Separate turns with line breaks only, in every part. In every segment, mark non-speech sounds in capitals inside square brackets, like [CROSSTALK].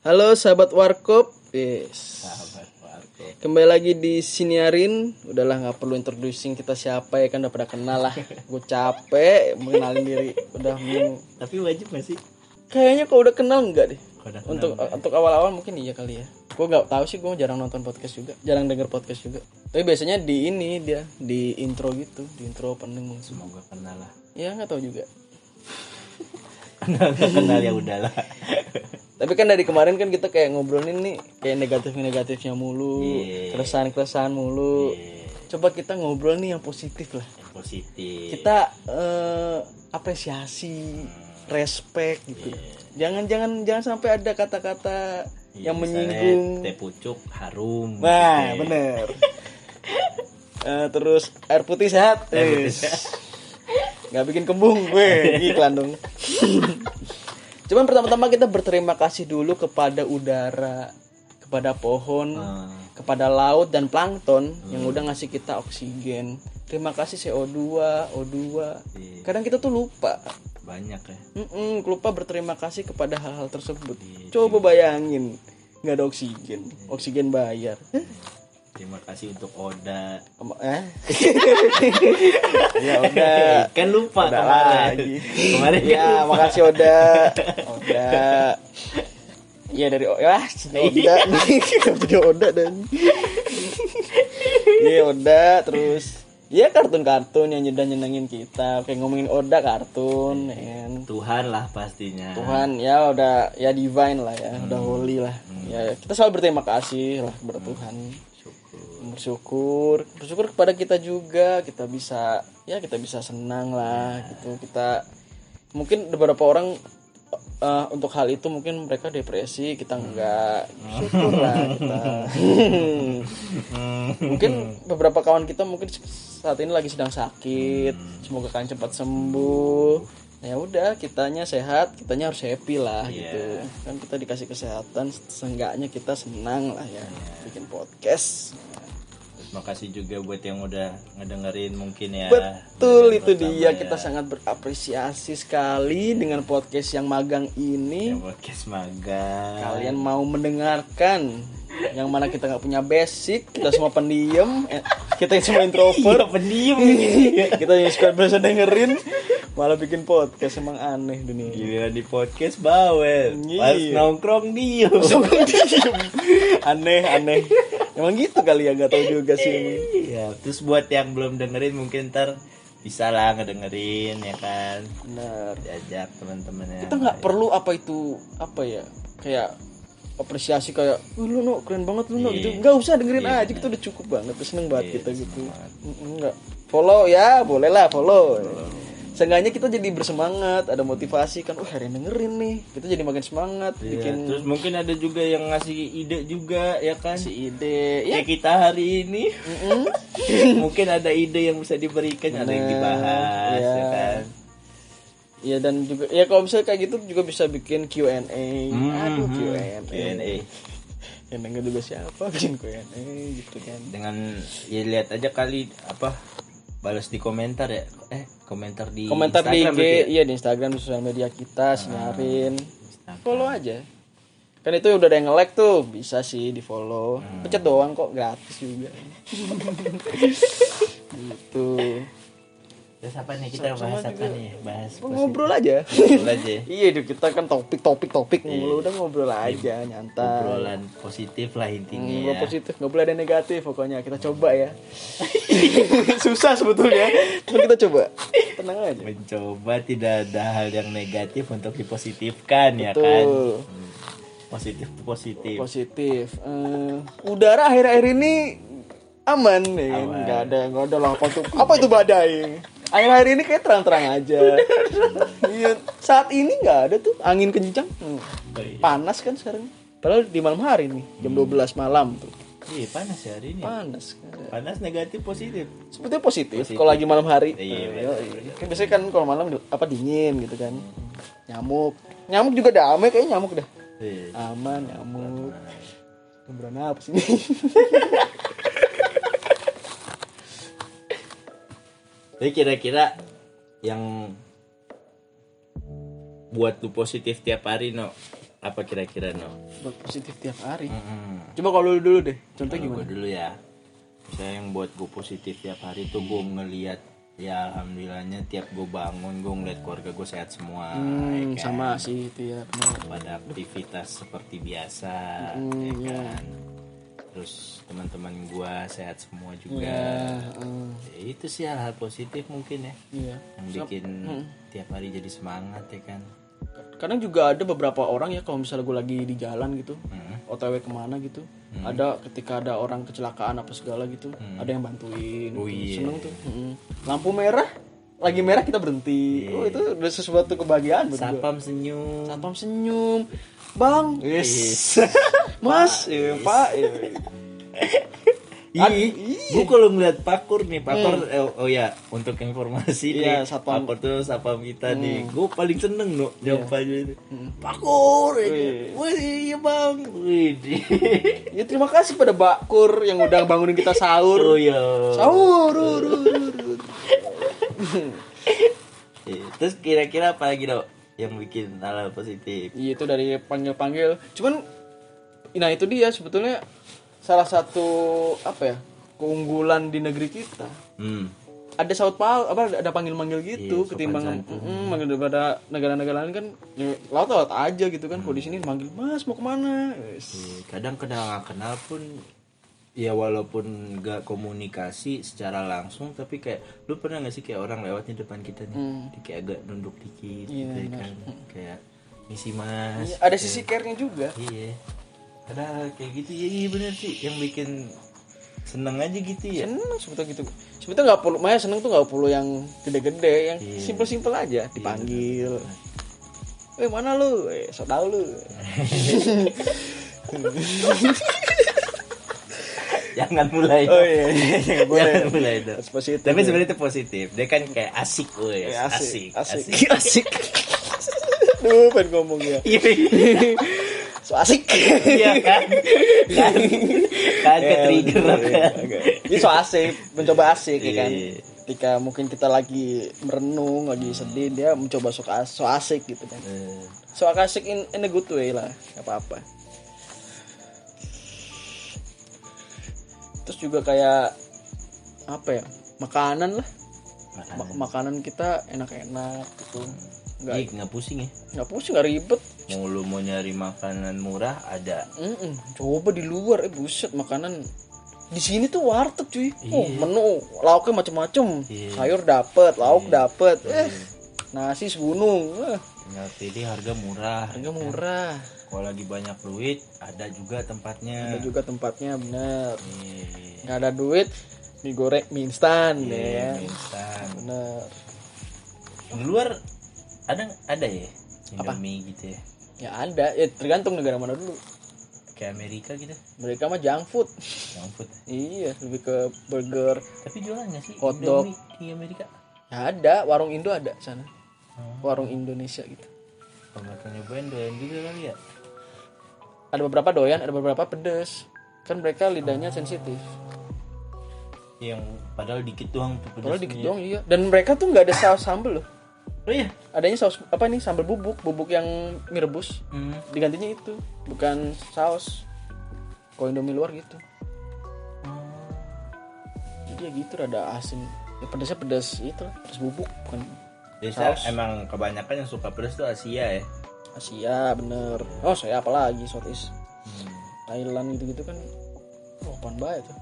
Halo sahabat Warkop. Yes.
Nah.
Kembali lagi di Siniarin. Udahlah nggak perlu introducing kita siapa ya kan udah pada kenal lah. Gue capek mengenalin diri. Udah mending-
Tapi wajib gak sih?
Kayaknya kalau udah kenal nggak deh.
Kalau udah
Untuk untuk awal-awal mungkin iya kali ya. Gue nggak tahu sih. Gue jarang nonton podcast juga. Jarang denger podcast juga. Tapi biasanya di ini dia di intro gitu, di intro opening langsung.
semoga kenal lah.
Ya nggak tahu juga.
[LAUGHS] Kenal gak kenal ya udahlah.
Tapi kan dari kemarin kan kita kayak ngobrolin nih kayak negatif-negatifnya mulu,
Iya.
keresahan-keresahan mulu.
Eh,
Coba kita ngobrol nih yang positif lah.
yang positif.
Kita eh, apresiasi, respect gitu. Jangan-jangan jangan sampai ada kata-kata
Iya,
yang
misalnya
menyinggung.
Teh pucuk harum.
Nah,
Eh, [LAUGHS]
bener. Eh, terus air putih sehat.
Air putih
Wis. Nggak bikin kembung gue
[LAUGHS]
iklan dong. Cuman pertama-tama kita berterima kasih dulu kepada udara, kepada pohon,
eh,
kepada laut dan plankton yang udah ngasih kita oksigen. Terima kasih CO2, O2.
Iya.
Kadang kita tuh lupa.
banyak ya.
Mm-mm, lupa berterima kasih kepada hal-hal tersebut. Coba bayangin, nggak ada oksigen, oksigen bayar. Hah?
Terima kasih untuk Oda.
Em- Eh? [LAUGHS] ya udah.
Eh, kan lupa
Udah
kemarin.
lagi.
[LAUGHS] kemarin kan
Ya,
lupa.
makasih Oda. Oda. Iya dari Oda. Oda nih. Kenapa jadi Oda dan. Iya Oda terus. Iya kartun-kartun yang udah nyenengin kita. Kayak ngomongin Oda kartun,
Iya.
and
Tuhan lah pastinya.
Tuhan ya udah ya divine lah ya, udah holy lah.
Hmm.
Ya kita selalu berterima kasih lah kepada Tuhan.
Syukur.
bersyukur bersyukur kepada kita juga kita bisa ya kita bisa senang lah gitu kita mungkin beberapa orang eh, untuk hal itu mungkin mereka depresi kita enggak syukur lah kita mungkin beberapa kawan kita mungkin saat ini lagi sedang sakit semoga kan cepat sembuh Nah, ya udah kitanya sehat kitanya harus happy lah gitu kan kita dikasih kesehatan seenggaknya kita senang lah ya bikin podcast
Terima kasih juga buat yang udah ngedengerin mungkin ya.
Betul itu dia kita sangat berapresiasi sekali dengan podcast yang magang ini.
Yang podcast magang.
Kalian mau mendengarkan yang mana kita nggak punya basic, kita semua pendiam, eh, kita yang semua introvert,
pendiam.
kita yang suka biasa dengerin, malah bikin podcast emang aneh dunia.
Giliran di podcast bawel. Pas
Iya.
nongkrong diem.
Pendiam. aneh aneh. Emang gitu kali ya nggak tahu juga sih. ini.
Iya, terus buat yang belum dengerin mungkin ntar bisa lah ngedengerin ya kan.
Benar.
Diajak ya. teman-temannya.
kita nggak perlu apa itu apa ya kayak apresiasi kayak "Wih, lu no keren banget lu no
Iya.
gitu nggak usah dengerin
Iya,
aja kita udah cukup banget Udah seneng banget
Iya,
kita
seneng
gitu
banget.
Mm, nggak follow ya boleh lah follow Seenggaknya kita jadi bersemangat, ada motivasi kan, wah hari ini dengerin nih, kita jadi makin semangat,
Iya,
bikin
Terus mungkin ada juga yang ngasih ide juga ya kan.
si ide, ya
Ya kita hari ini [LAUGHS] mungkin ada ide yang bisa diberikan, ada yang
Bener.
dibahas
Iya.
ya kan.
ya dan juga ya kalau misalnya kayak gitu juga bisa bikin Q&A, aduh
Mhm.
Q&A,
Q&A.
yang denger juga siapa bikin Q&A gitu kan,
Dengan ya lihat aja kali apa balas di komentar ya. Eh, komentar di
komentar di
Instagram
IG,
berarti ya? Ah.
iya di Instagram di sosial media kita sinarin.
Instagram.
Follow aja. Kan itu udah ada yang nge-like tuh, bisa sih di-follow. Pencet doang kok, gratis [LAUGHS] juga. gitu.
Terus apa nih kita bahas apa nih? Bahas
Ngobrol aja.
ngobrol aja.
[LAUGHS] iya, dude, kita kan topik-topik-topik mulu, udah ngobrol aja nyantai.
Obrolan positif lah intinya.
Ngobrol
ya.
positif, nggak boleh ada yang negatif pokoknya. Kita coba [LAUGHS] ya. Susah sebetulnya, tapi kita coba. Tenang aja.
Mencoba tidak ada hal yang negatif untuk dipositifkan ya kan.
Tuh.
Positif positif.
positif Eh, udara akhir-akhir ini aman nih nggak ada nggak ada lah apa tuh apa itu badai akhir-akhir ini kayak terang-terang aja
[LAUGHS]
iya saat ini nggak ada tuh angin kencang Hmm.
Oh, iya. Hmm.
panas kan sekarang padahal di malam hari nih jam 12 malam tuh
Iya, panas ya hari ini.
panas kan.
Panas negatif positif.
sebetulnya positif kalau lagi malam hari
Iya,
Eh, iya. kan biasanya kan kalau malam apa dingin gitu kan nyamuk nyamuk juga damai kayaknya nyamuk dah
Iya.
aman nyamuk Kumpulan apa sih ini? [LAUGHS]
Tapi kira-kira yang buat lu positif tiap hari no apa kira-kira Hmm. no?
buat positif tiap hari
Mm-mm.
coba kalau lu dulu deh contoh
Kalau
gimana
gua dulu ya Misalnya yang buat gue positif tiap hari tuh gue
Hmm.
ngeliat Ya alhamdulillahnya tiap gue bangun gue ngeliat keluarga gue sehat semua ya
hmm,
kan?
sama sih itu ya benar.
Pada aktivitas seperti biasa
Hmm.
ya
iya.
kan Terus teman-teman gue sehat semua
Iya,
juga
Heeh,
Ya, Itu sih hal-hal positif mungkin ya
eh, iya
Yang bikin
hmm.
tiap hari jadi semangat ya kan
kadang juga ada beberapa orang ya kalau misalnya gue lagi di jalan gitu
Mm.
otw kemana gitu
Hmm.
ada ketika ada orang kecelakaan apa segala gitu ada yang bantuin
Oh,
gitu.
iya.
seneng tuh Mm. lampu merah lagi merah kita berhenti
Iya.
oh itu udah sesuatu kebahagiaan buat gue
Sapam senyum
satpam senyum bang yes [LAUGHS] mas iya, pak iya.
Ih, gue kalau ngeliat Pakur nih, Pakur eh, oh, ya untuk informasi
Iya,
nih,
satpam.
Pakur tuh sapam kita nih, gue paling seneng no jawabannya itu. Pakur, ya kan? wah iya bang, Wih, di-
ya terima kasih pada bakur yang udah bangunin kita sahur
[LAUGHS] oh ya.
sahur ur, ur, ur.
Iya, Terus kira-kira apa lagi dok yang bikin hal positif?
Iya itu dari panggil-panggil. Cuman nah itu dia sebetulnya salah satu apa ya? keunggulan di negeri kita.
Hmm,
Ada saut paul apa ada- ada panggil-manggil gitu
Iya, sopan
ketimbang Mm, manggil daripada negara-negara lain kan ya, laut-laut aja gitu kan. Kalau di sini manggil Mas mau kemana? Yes.
iya, kadang kenal nggak kenal pun, ya walaupun gak komunikasi secara langsung, tapi kayak lu pernah nggak sih kayak orang lewat di depan kita nih,
Hmm.
dia kayak agak nunduk dikit, gitu ya kan, kayak misi mas,
Iya, Ada sisi care-nya juga.
Iya. Ada kayak gitu ya iya bener sih yang bikin seneng aja gitu ya.
Seneng sebetulnya gitu. Sebetulnya nggak perlu, makanya seneng tuh nggak perlu yang gede-gede, yang simple-simple aja dipanggil. Eh mana lu? Eh, so tau lu.
[LAUGHS] Jangan mulai.
[LAUGHS] Oh iya, [LAUGHS] iya, iya, nggak boleh.
Jangan mulai dong.
Harus positif.
Tapi sebenarnya itu positif. Dia kan kayak asik wes.
Eh,
asik. [LAUGHS]
asik, asik, [LAUGHS] asik. [LAUGHS] Duh, pengen ngomong ya.
Iya.
So [LAUGHS] asik.
Iya kan. Kan kan
Iya,
ke trigger kan.
Ini so asik, mencoba asik ya kan.
Iya.
Ketika mungkin kita lagi merenung, lagi sedih, dia mencoba so, as- so asik gitu kan.
Eh,
So asik in, in a good way lah, nggak apa-apa. Terus juga kayak apa ya? Makanan lah.
Makan.
Ma- makanan kita enak-enak gitu. Nggak
Ih, nggak pusing ya.
nggak pusing nggak ribet
Mau lu mau nyari makanan murah ada.
Mm-mm. coba di luar eh buset makanan di sini tuh warteg cuy oh menu lauknya macem-macem
Iya.
sayur dapet lauk dapet eh nasi segunung eh,
Tinggal pilih harga murah.
harga murah
Kalau lagi banyak duit ada juga tempatnya.
ada juga tempatnya bener
Iya.
nggak ada duit mie goreng mie instan
Iya,
ya
instan.
bener
Di luar ada ada ya Indomie gitu ya.
ya ada ya tergantung negara mana dulu
Kayak Amerika gitu,
mereka mah junk food
yang food.
iya lebih ke burger
Tapi jualan nggak sih
Hotdog.
Indomie di Amerika?
ya ada warung Indo ada sana
Hmm.
warung Indonesia gitu
Kalau nggak pernah nyobain doyan juga kali ya.
ada beberapa doyan ada beberapa pedes kan mereka
Oh.
lidahnya sensitif
Yang padahal dikit doang tuh pedasnya.
kalau dikit doang iya dan mereka tuh nggak ada saus sambel loh
Oh iya.
adanya saus apa nih sambal bubuk bubuk yang mie rebus
Hmm.
digantinya itu bukan saus kalau indomie luar gitu jadi ya gitu rada asin ya pedasnya pedas itu lah, pedas bubuk bukan
Biasa emang kebanyakan yang suka pedas tuh Asia ya.
Asia bener oh saya apalagi Southeast
Hmm.
Thailand gitu-gitu kan oh apaan banget tuh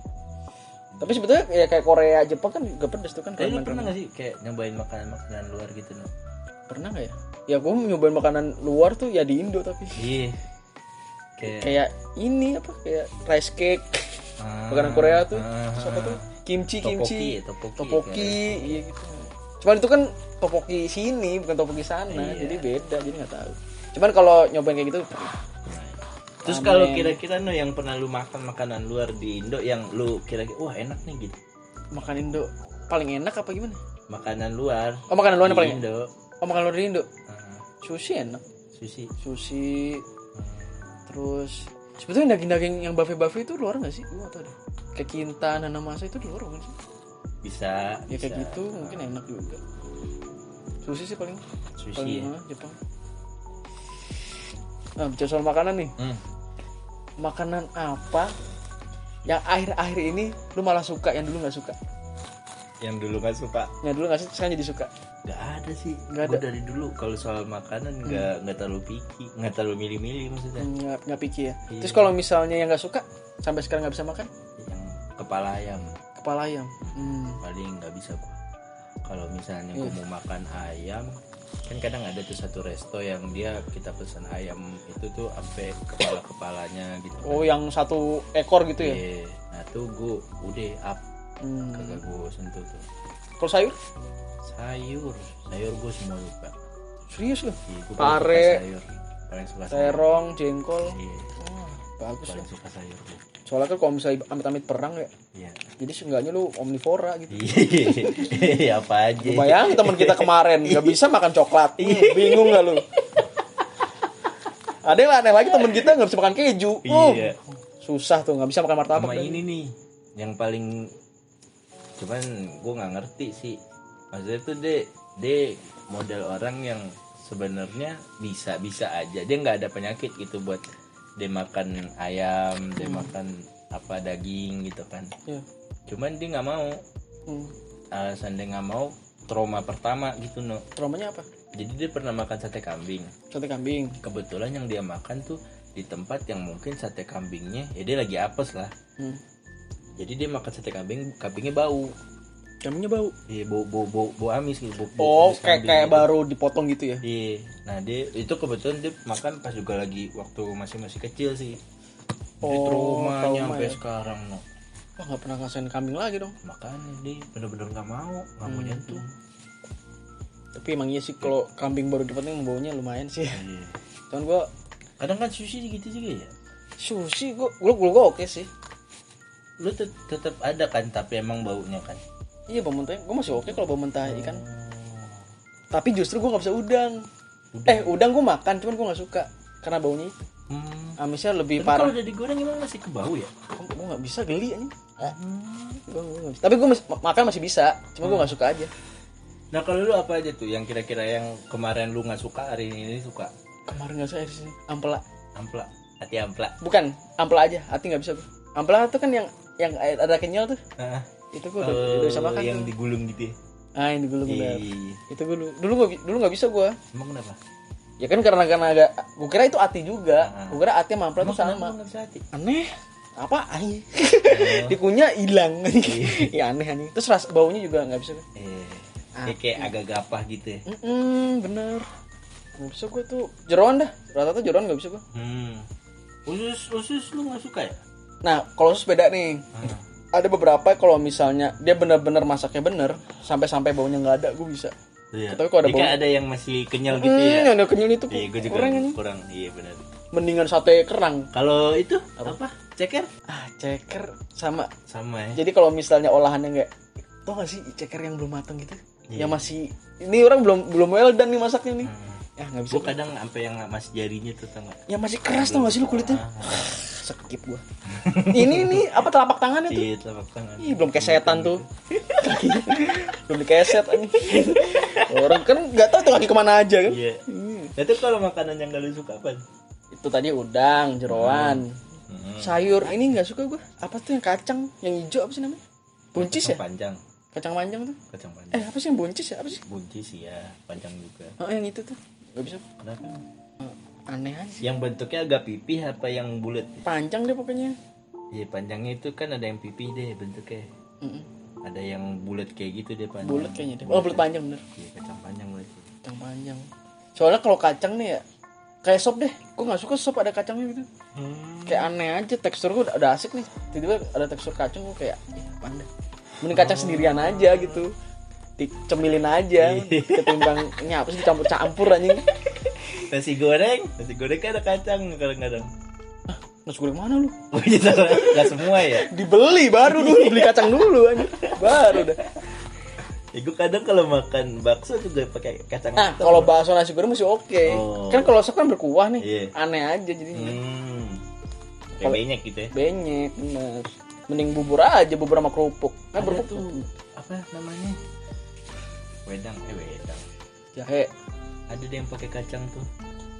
tapi sebetulnya ya kayak Korea Jepang kan juga pedas tuh kan
Tapi lu
Korea-
pernah nggak sih kayak nyobain makanan-makanan luar gitu no?
pernah nggak ya ya gue nyobain makanan luar tuh ya di Indo tapi
Iya. Kayak
kayak ini apa kayak rice cake
Ah,
makanan Korea tuh
ah,
terus apa tuh kimchi kimchi
Topoki, topoki,
iya gitu cuman itu kan topoki sini bukan topoki sana
Iya.
jadi beda jadi nggak tahu cuman kalau nyobain kayak gitu
Terus kalau kira-kira no yang pernah lu makan makanan luar di Indo yang lu kira-kira wah enak nih gitu.
makan Indo paling enak apa gimana
Makanan luar
oh makanan luar yang
di
paling enak
Indo
oh makanan luar di Indo
uh,
sushi enak
sushi.
sushi terus sebetulnya daging-daging yang buffet-buffet itu luar nggak sih gue atau deh kayak kintan hanamasa itu di luar bukan sih
Bisa
ya kayak
bisa.
gitu mungkin enak juga sushi sih paling
Sushi
paling
ya.
mahal Jepang Nah, bicara soal makanan nih.
Hmm.
Makanan apa yang akhir-akhir ini lu malah suka yang dulu nggak suka?
Yang dulu gak suka
Yang dulu nggak suka sekarang jadi suka.
Gak ada sih
Nggak
Gue
ada.
dari dulu kalau soal makanan nggak nggak terlalu picky Gak terlalu milih-milih maksudnya
Hmm, Nggak nggak pikir ya.
Iya.
Terus kalau misalnya yang nggak suka sampai sekarang nggak bisa makan
Yang kepala ayam
kepala ayam. Hmm.
Paling nggak bisa gue Kalau misalnya gue mau makan ayam Kan kadang ada tuh satu resto yang dia kita pesan ayam Itu tuh sampai kepala-kepalanya gitu
Oh yang satu ekor gitu ya?
Iya. Nah tuh gue udah up
Hmm.
Kagak gue sentuh tuh
Kalau sayur?
Sayur Sayur gue semua suka
Serius lu?
Iya, gua paling
Pare.
suka sayur Paling suka sayur
Terong, jengkol.
Iya,
Wah, bagus
paling
lah.
suka sayur gue
Soalnya kan kalau misalnya amit-amit perang ya,
Iya.
jadi seenggaknya lu omnivora gitu.
Iya, apa aja.
Lu Bayangin teman kita kemarin nggak bisa makan coklat,
Iya.
Hmm, bingung nggak lu? Ada yang aneh lagi teman kita nggak bisa makan keju, Oh,
Iya.
susah tuh nggak bisa makan martabak. kan.
Sama ini nih yang paling cuman gue nggak ngerti sih. Maksudnya tuh deh, deh model orang yang sebenarnya bisa bisa aja dia nggak ada penyakit gitu buat dia makan ayam, dia makan apa daging gitu kan.
Iya.
Cuman dia nggak mau
Hmm.
alasan dia nggak mau trauma pertama gitu no.
Traumanya apa?
Jadi dia pernah makan sate kambing.
Sate kambing.
kebetulan yang dia makan tuh di tempat yang mungkin sate kambingnya ya dia lagi apes lah
Hmm.
jadi dia makan sate kambing kambingnya bau
Kambingnya bau.
iya bau bau bau, bau amis gitu bau, bau
Oh,
amis
kayak
kambing
kayak
gitu.
baru dipotong gitu ya?
Iya. nah dia itu kebetulan dia makan pas juga lagi waktu masih masih kecil sih Jadi
Oh,
traumanya
trauma
sampai
ya.
sekarang no.
Wah nggak pernah ngerasain kambing lagi dong.
makanya dia bener-bener nggak mau nggak
Hmm.
mau nyentuh
Tapi emang iya sih kalau kambing baru dipotong baunya lumayan sih. [LAUGHS]
Iya.
Cuman gua
kadang kan sushi gitu juga ya
sushi gua gua, gua, gua oke sih.
lu tet- tetap ada kan tapi emang baunya kan
Iya bau mentah, gue masih oke kalau bau mentah ikan. Oh. Tapi justru gue nggak bisa udang. Eh udang gue makan, cuman gue nggak suka karena baunya itu.
hmm.
amisnya lebih
Tapi
parah.
kalau udah digoreng emang masih ke bau ya
Gue nggak bisa geli ini. Hmm. Tapi gue makan masih bisa, cuma
Hmm.
gue nggak suka aja.
Nah kalau lu apa aja tuh yang kira-kira yang kemarin lu nggak suka hari ini, ini suka
Kemarin nggak saya sih, ampela.
ampla hati ampla.
Bukan, ampela aja. Hati nggak bisa gue. Ampela tuh kan yang yang ada kenyal tuh.
Nah,
Itu gue udah, udah bisa makan.
Eh, yang
tuh.
digulung gitu. ya?
Ah yang digulung
Iya,
bener.
iya, iya.
Itu gue dulu dulu gak, dulu nggak bisa gue.
Emang kenapa?
Ya kan karena karena agak. Gue kira itu ati juga.
Ah.
Gue kira ati sama ampela
Emang
tuh sama.
kenapa nggak bisa hati?
aneh apa anjing
Oh.
[LAUGHS] dikunyah hilang
Iya.
ya aneh anjing terus ras baunya juga nggak bisa
Eh, kayak, kayak agak gapah gitu. ya.
Mm-mm, bener nggak bisa gue tuh jeroan dah rata-rata jeroan nggak bisa gue
Hmm. Usus usus lu nggak suka ya?
nah kalau sus beda nih
Ah.
ada beberapa kalau misalnya dia bener-bener masaknya bener sampai-sampai baunya nggak ada gue bisa
Iya.
Tapi kalau ada
Dia kan
bau-
ada yang masih kenyal gitu
hmm,
ya.
yang udah kenyal itu
Iya, gue juga
kurang
kurang.
anjing.
Iya benar.
mendingan sate kerang
Kalau itu apa? Ceker?
ah ceker sama
Sama ya.
jadi kalau misalnya olahannya nggak tau gak sih ceker yang belum matang gitu
Iya.
yang masih ini orang belum belum well done nih masaknya nih
Hmm.
ya nggak bisa
Gue kadang sampai yang masih jarinya tuh tau nggak?
yang masih keras tau gak sih lu kulitnya
Ah.
[SIGHS] skip gua ini nih apa telapak tangannya tuh
Iya, telapak tangan.
Ih, belum kesetan tuh [LAUGHS] Kaki. belum dikeset anjing. orang kan nggak tahu tuh kaki kemana aja kan
Iya.
Hmm.
Nah, itu kalau makanan yang gak lu suka apa?
itu tadi udang jeroan
Hmm.
sayur ini nggak suka gua apa tuh yang kacang yang hijau apa sih namanya buncis ya
Kacang panjang,
kacang panjang tuh
kacang panjang.
eh apa sih yang buncis ya apa sih
Buncis ya, panjang juga.
oh yang itu tuh nggak bisa
Kenapa?
aneh aja
Yang bentuknya agak pipih apa yang bulat?
panjang deh pokoknya
Iya, panjangnya itu kan ada yang pipih deh bentuknya.
Mm-mm.
Ada yang bulat kayak gitu deh panjang.
bulat kayaknya deh oh bulat panjang bener
Iya, kacang panjang bulat.
kacang panjang soalnya kalau kacang nih ya kayak sop deh gue nggak suka sop ada kacangnya gitu kayak aneh aja tekstur gue udah, udah asik nih tiba-tiba ada tekstur kacang gue kayak "Ih, apaan dah?" mending kacang sendirian aja gitu dicemilin aja ketimbang ini apa sih dicampur-campur [LAUGHS] anjing
Nasi goreng, nasi goreng kan ada kacang kadang-kadang.
Ah, nasi goreng mana lu
Oh iya, salah. Nggak semua ya.
dibeli baru dulu beli kacang dulu anjing baru dah
Ya, gue kadang kalau makan bakso juga pakai kacang.
nah
hitam.
kalau bakso nasi goreng masih oke
Oh.
kan kalau sop kan berkuah nih
Iya.
aneh aja jadinya
Hmm. Kayak banyak gitu ya.
benyek bener mending bubur aja bubur sama kerupuk kan
ada
kerupuk
tuh apa namanya wedang eh wedang
jahe
ada deh yang pakai kacang tuh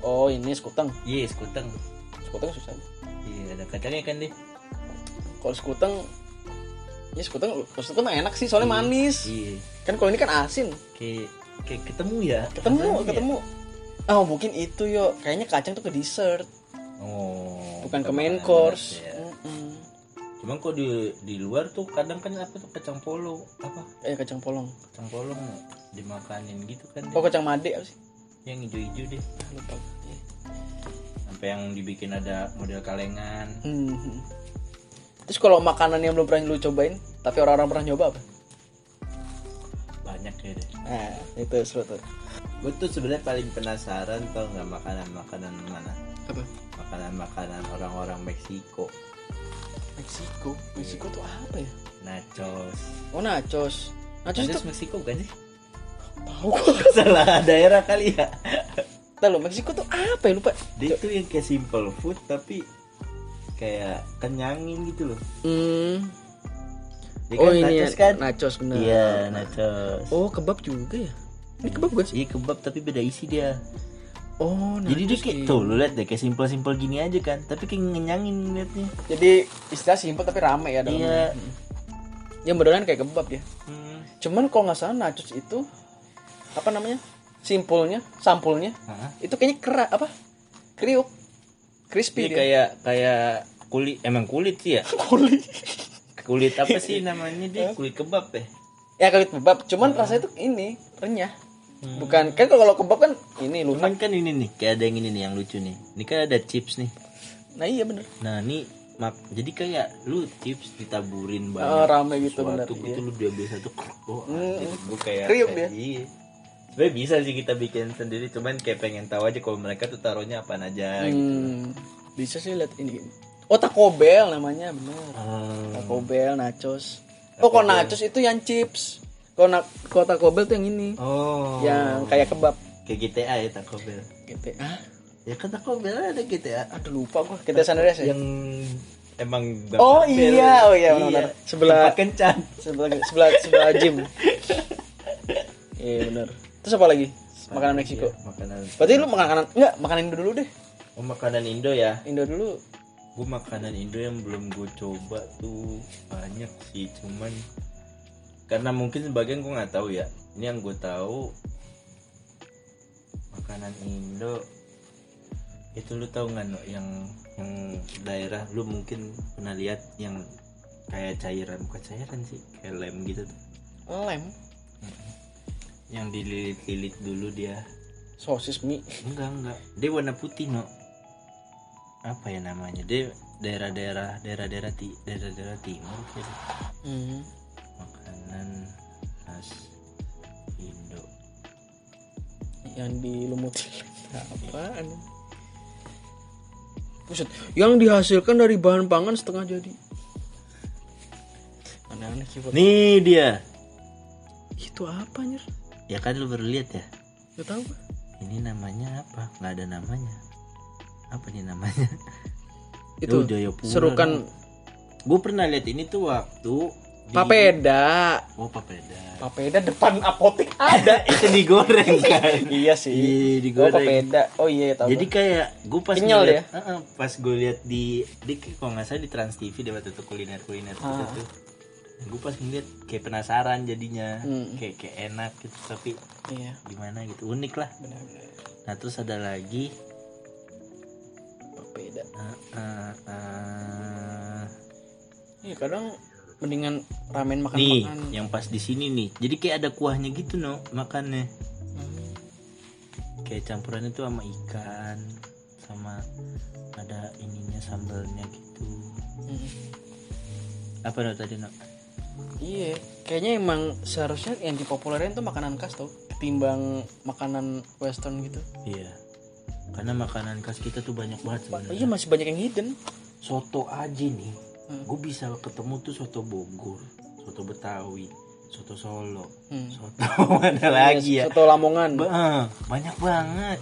oh ini skuteng
iya skuteng
skuteng susah
iya ada kacangnya kan deh
kalau skuteng ya skuteng kalau skuteng enak sih soalnya manis
iya
kan kalau ini kan asin
kayak kayak ketemu ya
ketemu
rasanya ya.
ketemu oh mungkin itu yo kayaknya kacang tuh ke dessert
oh
bukan ke main
makanan
course
ya.
Mm-mm.
cuman kok di di luar tuh kadang kan apa tuh kacang polo apa
eh kacang polong
kacang polo dimakanin gitu kan deh.
oh kacang made apa sih
yang hijau-hijau deh
Ah, lupa Iya.
sampai yang dibikin ada model kalengan
Hmm. Terus kalau makanan yang belum pernah lu cobain, tapi orang-orang pernah nyoba apa?
banyak ya deh
Nah, itu seru tuh.
gue tuh sebenarnya paling penasaran tau nggak makanan makanan mana
Apa?
makanan makanan orang-orang Meksiko
Meksiko. Meksiko tuh apa ya?
nachos
Oh, nachos. Nachos
nachos
itu
Meksiko bukan sih [LAUGHS]
tahu gua.
salah daerah kali ya
Entar lu, Meksiko tuh apa ya? Lupa.
dia tuh yang kayak simple food tapi kayak kenyangin gitu loh
Hmm.
dia
oh,
kan
ini
nachos kan
nachos benar.
iya nachos
Oh, kebab juga ya? Ini kebab gak sih?
Iya kebab tapi beda isi dia.
Oh,
Jadi dia
nachos
kayak
iya.
tuh lu lihat deh kayak simpel-simpel gini aja kan, tapi kayak ngenyangin liatnya.
Jadi istilah simpel tapi rame ya dalamnya.
Iya.
Yang beneran kayak kebab ya.
Hmm.
Cuman kalau nggak salah nachos itu apa namanya? Simpulnya, sampulnya
Hah?
itu kayaknya kera apa kriuk crispy [LAUGHS] dia
Ini Iya, kayak kayak kulit emang kulit sih ya.
kulit
Kulit
[LAUGHS]
apa sih namanya dia? Kulit kebab ya.
ya kulit kebab cuman
Hmm.
rasanya tuh ini renyah bukan kan kalau kebab kan ini lunak
Cuman kan ini nih kayak ada yang ini nih yang lucu nih. Ini kan ada chips nih.
nah iya bener
Nah, ini mak jadi kayak lu chips ditaburin
Oh,
banyak.
rame gitu bener
Suatu gitu lu diambil satu [LAUGHS] kruk. oh anjir, gua kayak
Kriuk ya?
kayak- iya. Sebenarnya bisa sih kita bikin sendiri, cuman kayak pengen tahu aja kalau mereka tuh taruhnya apaan aja.
Hmm, bisa sih lihat ini oh taco bell namanya bener
Ah,
taco bell nachos oh kalau nachos itu yang chips kalau na- kalau taco bell tuh yang ini
Oh.
yang kayak kebab
Kayak GTA ya Taco Bell.
gitu ah
Ya kan Taco Bell ada GTA.
aduh lupa gua kita sana deh
Yang emang Taco
Oh,
Bell.
iya, oh iya, benar-benar. Sebelah-
tempat kencan.
sebelah sebelah sebelah gym iya benar terus apa lagi makanan Meksiko
Iya, makanan.
berarti lu makanan enggak makanan Indo dulu deh
Oh, makanan Indo ya.
Indo dulu
Gue makanan Indo yang belum gue coba tuh banyak sih, cuman karena mungkin sebagian gue nggak tahu ya. Ini yang gue tahu makanan Indo itu lu tahu nggak no yang yang daerah lu mungkin pernah lihat yang kayak cairan bukan cairan sih kayak lem gitu tuh.
lem
yang dililit-lilit dulu dia
sosis mie
enggak enggak dia warna putih no apa ya namanya dia daerah-daerah daerah-daerah ti daerah-daerah timur kira
hmm.
makanan khas Indo
yang dilumuti apaan Buset, yang dihasilkan dari bahan pangan setengah jadi aneh-aneh sih Pak.
nih dia
itu apa anjir
ya kan lu baru lihat ya
gak tau
ini namanya apa nggak ada namanya apa nih namanya
[LAUGHS] itu
Lu Jayapura,
serukan
gue pernah lihat ini tuh waktu di-
papeda
oh papeda [LAUGHS]
papeda depan apotek ada
ada itu digoreng kan
[LAUGHS] iya sih
Iya,
oh
digoreng.
papeda oh iya tahu
Jadi kayak gue pas
Kenyal ya?
ngeliat, Heeh, pas gue liat di di kalau nggak salah di Trans TV dia waktu itu kuliner kuliner
Ah.
gitu tuh. Gue pas ngeliat kayak penasaran jadinya,
Hmm.
kayak kayak enak gitu tapi
iya
gimana gitu unik lah.
benar-benar
Nah terus ada lagi
papeda
eh, eh, eh,
iya kadang mendingan ramen makan
nih ya.
makan
yang pas di sini nih. Jadi kayak ada kuahnya gitu no makannya.
Hmm.
Kayak campurannya tuh sama ikan sama ada ininya sambalnya gitu.
Hmm.
Apa no tadi no?
iya kayaknya emang seharusnya yang dipopulerin tuh makanan khas tau ketimbang makanan western gitu
Iya. Karena makanan khas kita tuh banyak
Oh,
banget sebenarnya.
iya masih banyak yang hidden
Soto aja nih.
Hmm.
Gue bisa ketemu tuh soto Bogor, soto Betawi, soto Solo,
Hmm.
soto [LAUGHS] mana lagi ya.
Iya, soto lamongan
Ba- eh, banyak banget.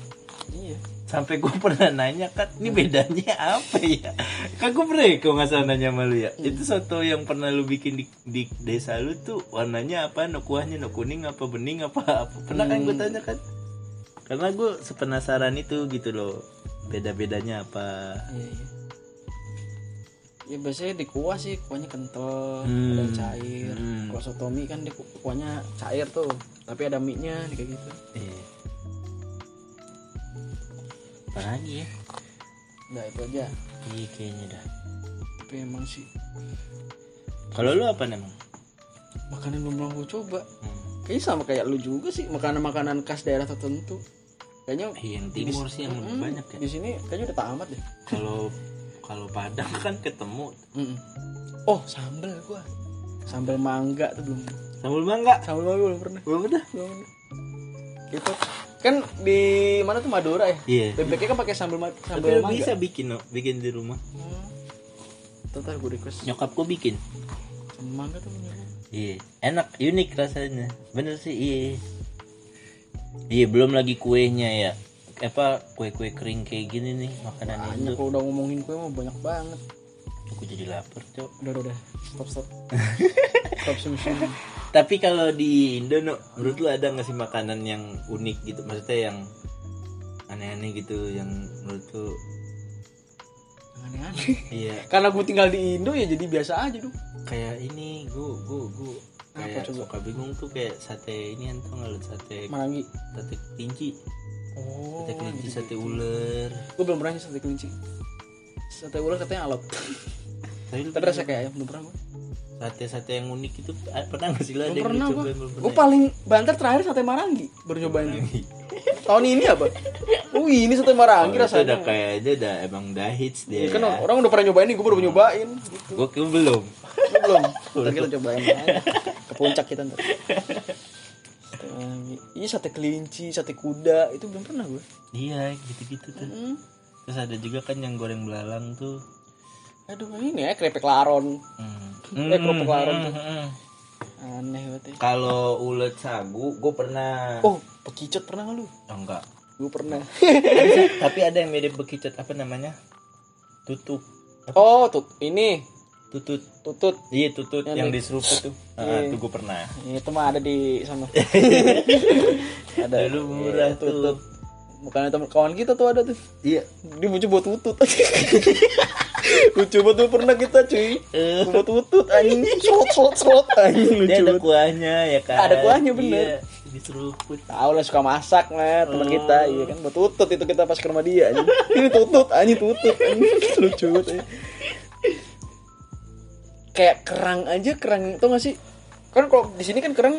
iya
Sampai gue [LAUGHS] pernah nanya kan, ini bedanya apa ya? Kan gue pernah ya, kalau nggak salah nanya sama lu ya. Itu soto yang pernah lu bikin di, di desa Hmm. lu tuh warnanya apa? No kuahnya, no kuning apa bening apa apa? Pernah kan gue tanya kan? karena gue sepenasaran itu gitu loh beda bedanya apa
Iya, iya. Ya biasanya di kuah sih kuahnya kental,
Hmm.
ada yang cair.
Hmm.
Kuah sotomi kan di ku- kuahnya cair tuh, tapi ada mie-nya kayak gitu.
eh. apa lagi ya
Nah itu aja.
iya kayaknya dah
Tapi emang sih
kalau lu apa namanya
makanan belum pernah gue coba.
Hmm.
Kayaknya sama kayak lu juga sih makanan-makanan khas daerah tertentu. Kayaknya
Iya, yang timur sih yang lebih
Hmm,
banyak ya
Di sini kayaknya udah tamat deh.
kalau kalau Padang kan ketemu
Mm-mm. Oh sambel gua. Sambel mangga tuh belum.
sambal mangga
Sambel mangga belum pernah.
belum udah
Belum pernah. Gitu. Kan di mana tuh Madura ya?
iya
Bebeknya kan pakai sambal ma-
tapi
sambal
lu
mangga. Hmm.
bisa bikin no? bikin di rumah
Tetap gue request
nyokapku bikin
sambal mangga tuh punya gua.
Iya, enak, unik rasanya. Bener sih, iya. Iya, belum lagi kuenya ya. Apa kue-kue kering kayak gini nih makanan
Banyak
Indo.
kalau udah ngomongin kue mah banyak banget.
Aku jadi lapar, Cok.
Udah udah udah. Stop [LAUGHS] stop. stop sum sum.
Tapi kalau di Indo, no, menurut lu ada nggak sih makanan yang unik gitu? Maksudnya yang aneh-aneh gitu, yang menurut lu
Aneh-aneh.
iya
Karena gue tinggal di Indo ya jadi biasa aja dong.
kayak ini, gua gua gua
Apa
kayak
coba?
suka bingung tuh kayak sate ini entah nggak lu? sate
Marangi.
sate kelinci,
Oh.
sate kelinci, sate ular.
Gue belum pernah sate kelinci. Sate ular katanya
[LAUGHS]
alot.
Tapi lu
Terus kayak ayam belum pernah gue.
sate-sate yang unik itu ah, pernah nggak sih lo ada
Belum
yang
pernah
dicobain
gue.
belum
Gue
pernah
paling banter terakhir sate marangi baru nyobain
ya?
tuh. [LAUGHS] Tahun ini apa? Oh ini sate
Kalau
marangi
itu udah
rasanya.
kayaknya udah emang udah hits dia
Ya,
ya,
kan orang udah pernah nyobain nih, gue baru nyobain.
gue kira belum
Lu belum. Ntar kita cobain aja. Ke puncak kita ntar. Sate marangi. Iya sate kelinci, sate kuda itu belum pernah gue.
iya gitu-gitu tuh
Hmm.
terus ada juga kan yang goreng belalang tuh
Aduh ini ya keripik laron.
hmm.
Eh, kerupuk larut tuh.
hmm.
Aneh banget. ya.
kalau ulet sagu gue pernah
Oh bekicot pernah nggak lu?
Oh,
[LAUGHS]
enggak
Gue pernah.
tapi ada yang mirip bekicot apa namanya tutut
oh tut ini
tutut
tutut
iya tutut
Yang
yang,
di-
diseruput tuh
Iya.
Ah, itu gue pernah
itu mah ada di
[LAUGHS]
sana ada
Dulu murah
iya,
tuh.
bukan teman kawan kita tuh ada tuh
iya
dia muncul buat tutut [LAUGHS] lucu banget tuh pernah kita cuy buat tutut anjing slot slot slot anjing
Eh.
lucu
dia ada
banget
kuahnya ya kan
Ada kuahnya, bener.
Iya, diseruput
tahu lah suka masak mah
Oh.
teman kita iya kan buat tutut itu kita pas ke rumah dia anjing ini tutut anjing tutut anjing [LAUGHS] lucu banget anjing. kayak kerang aja kerang itu nggak sih kan kalau di sini kan kerang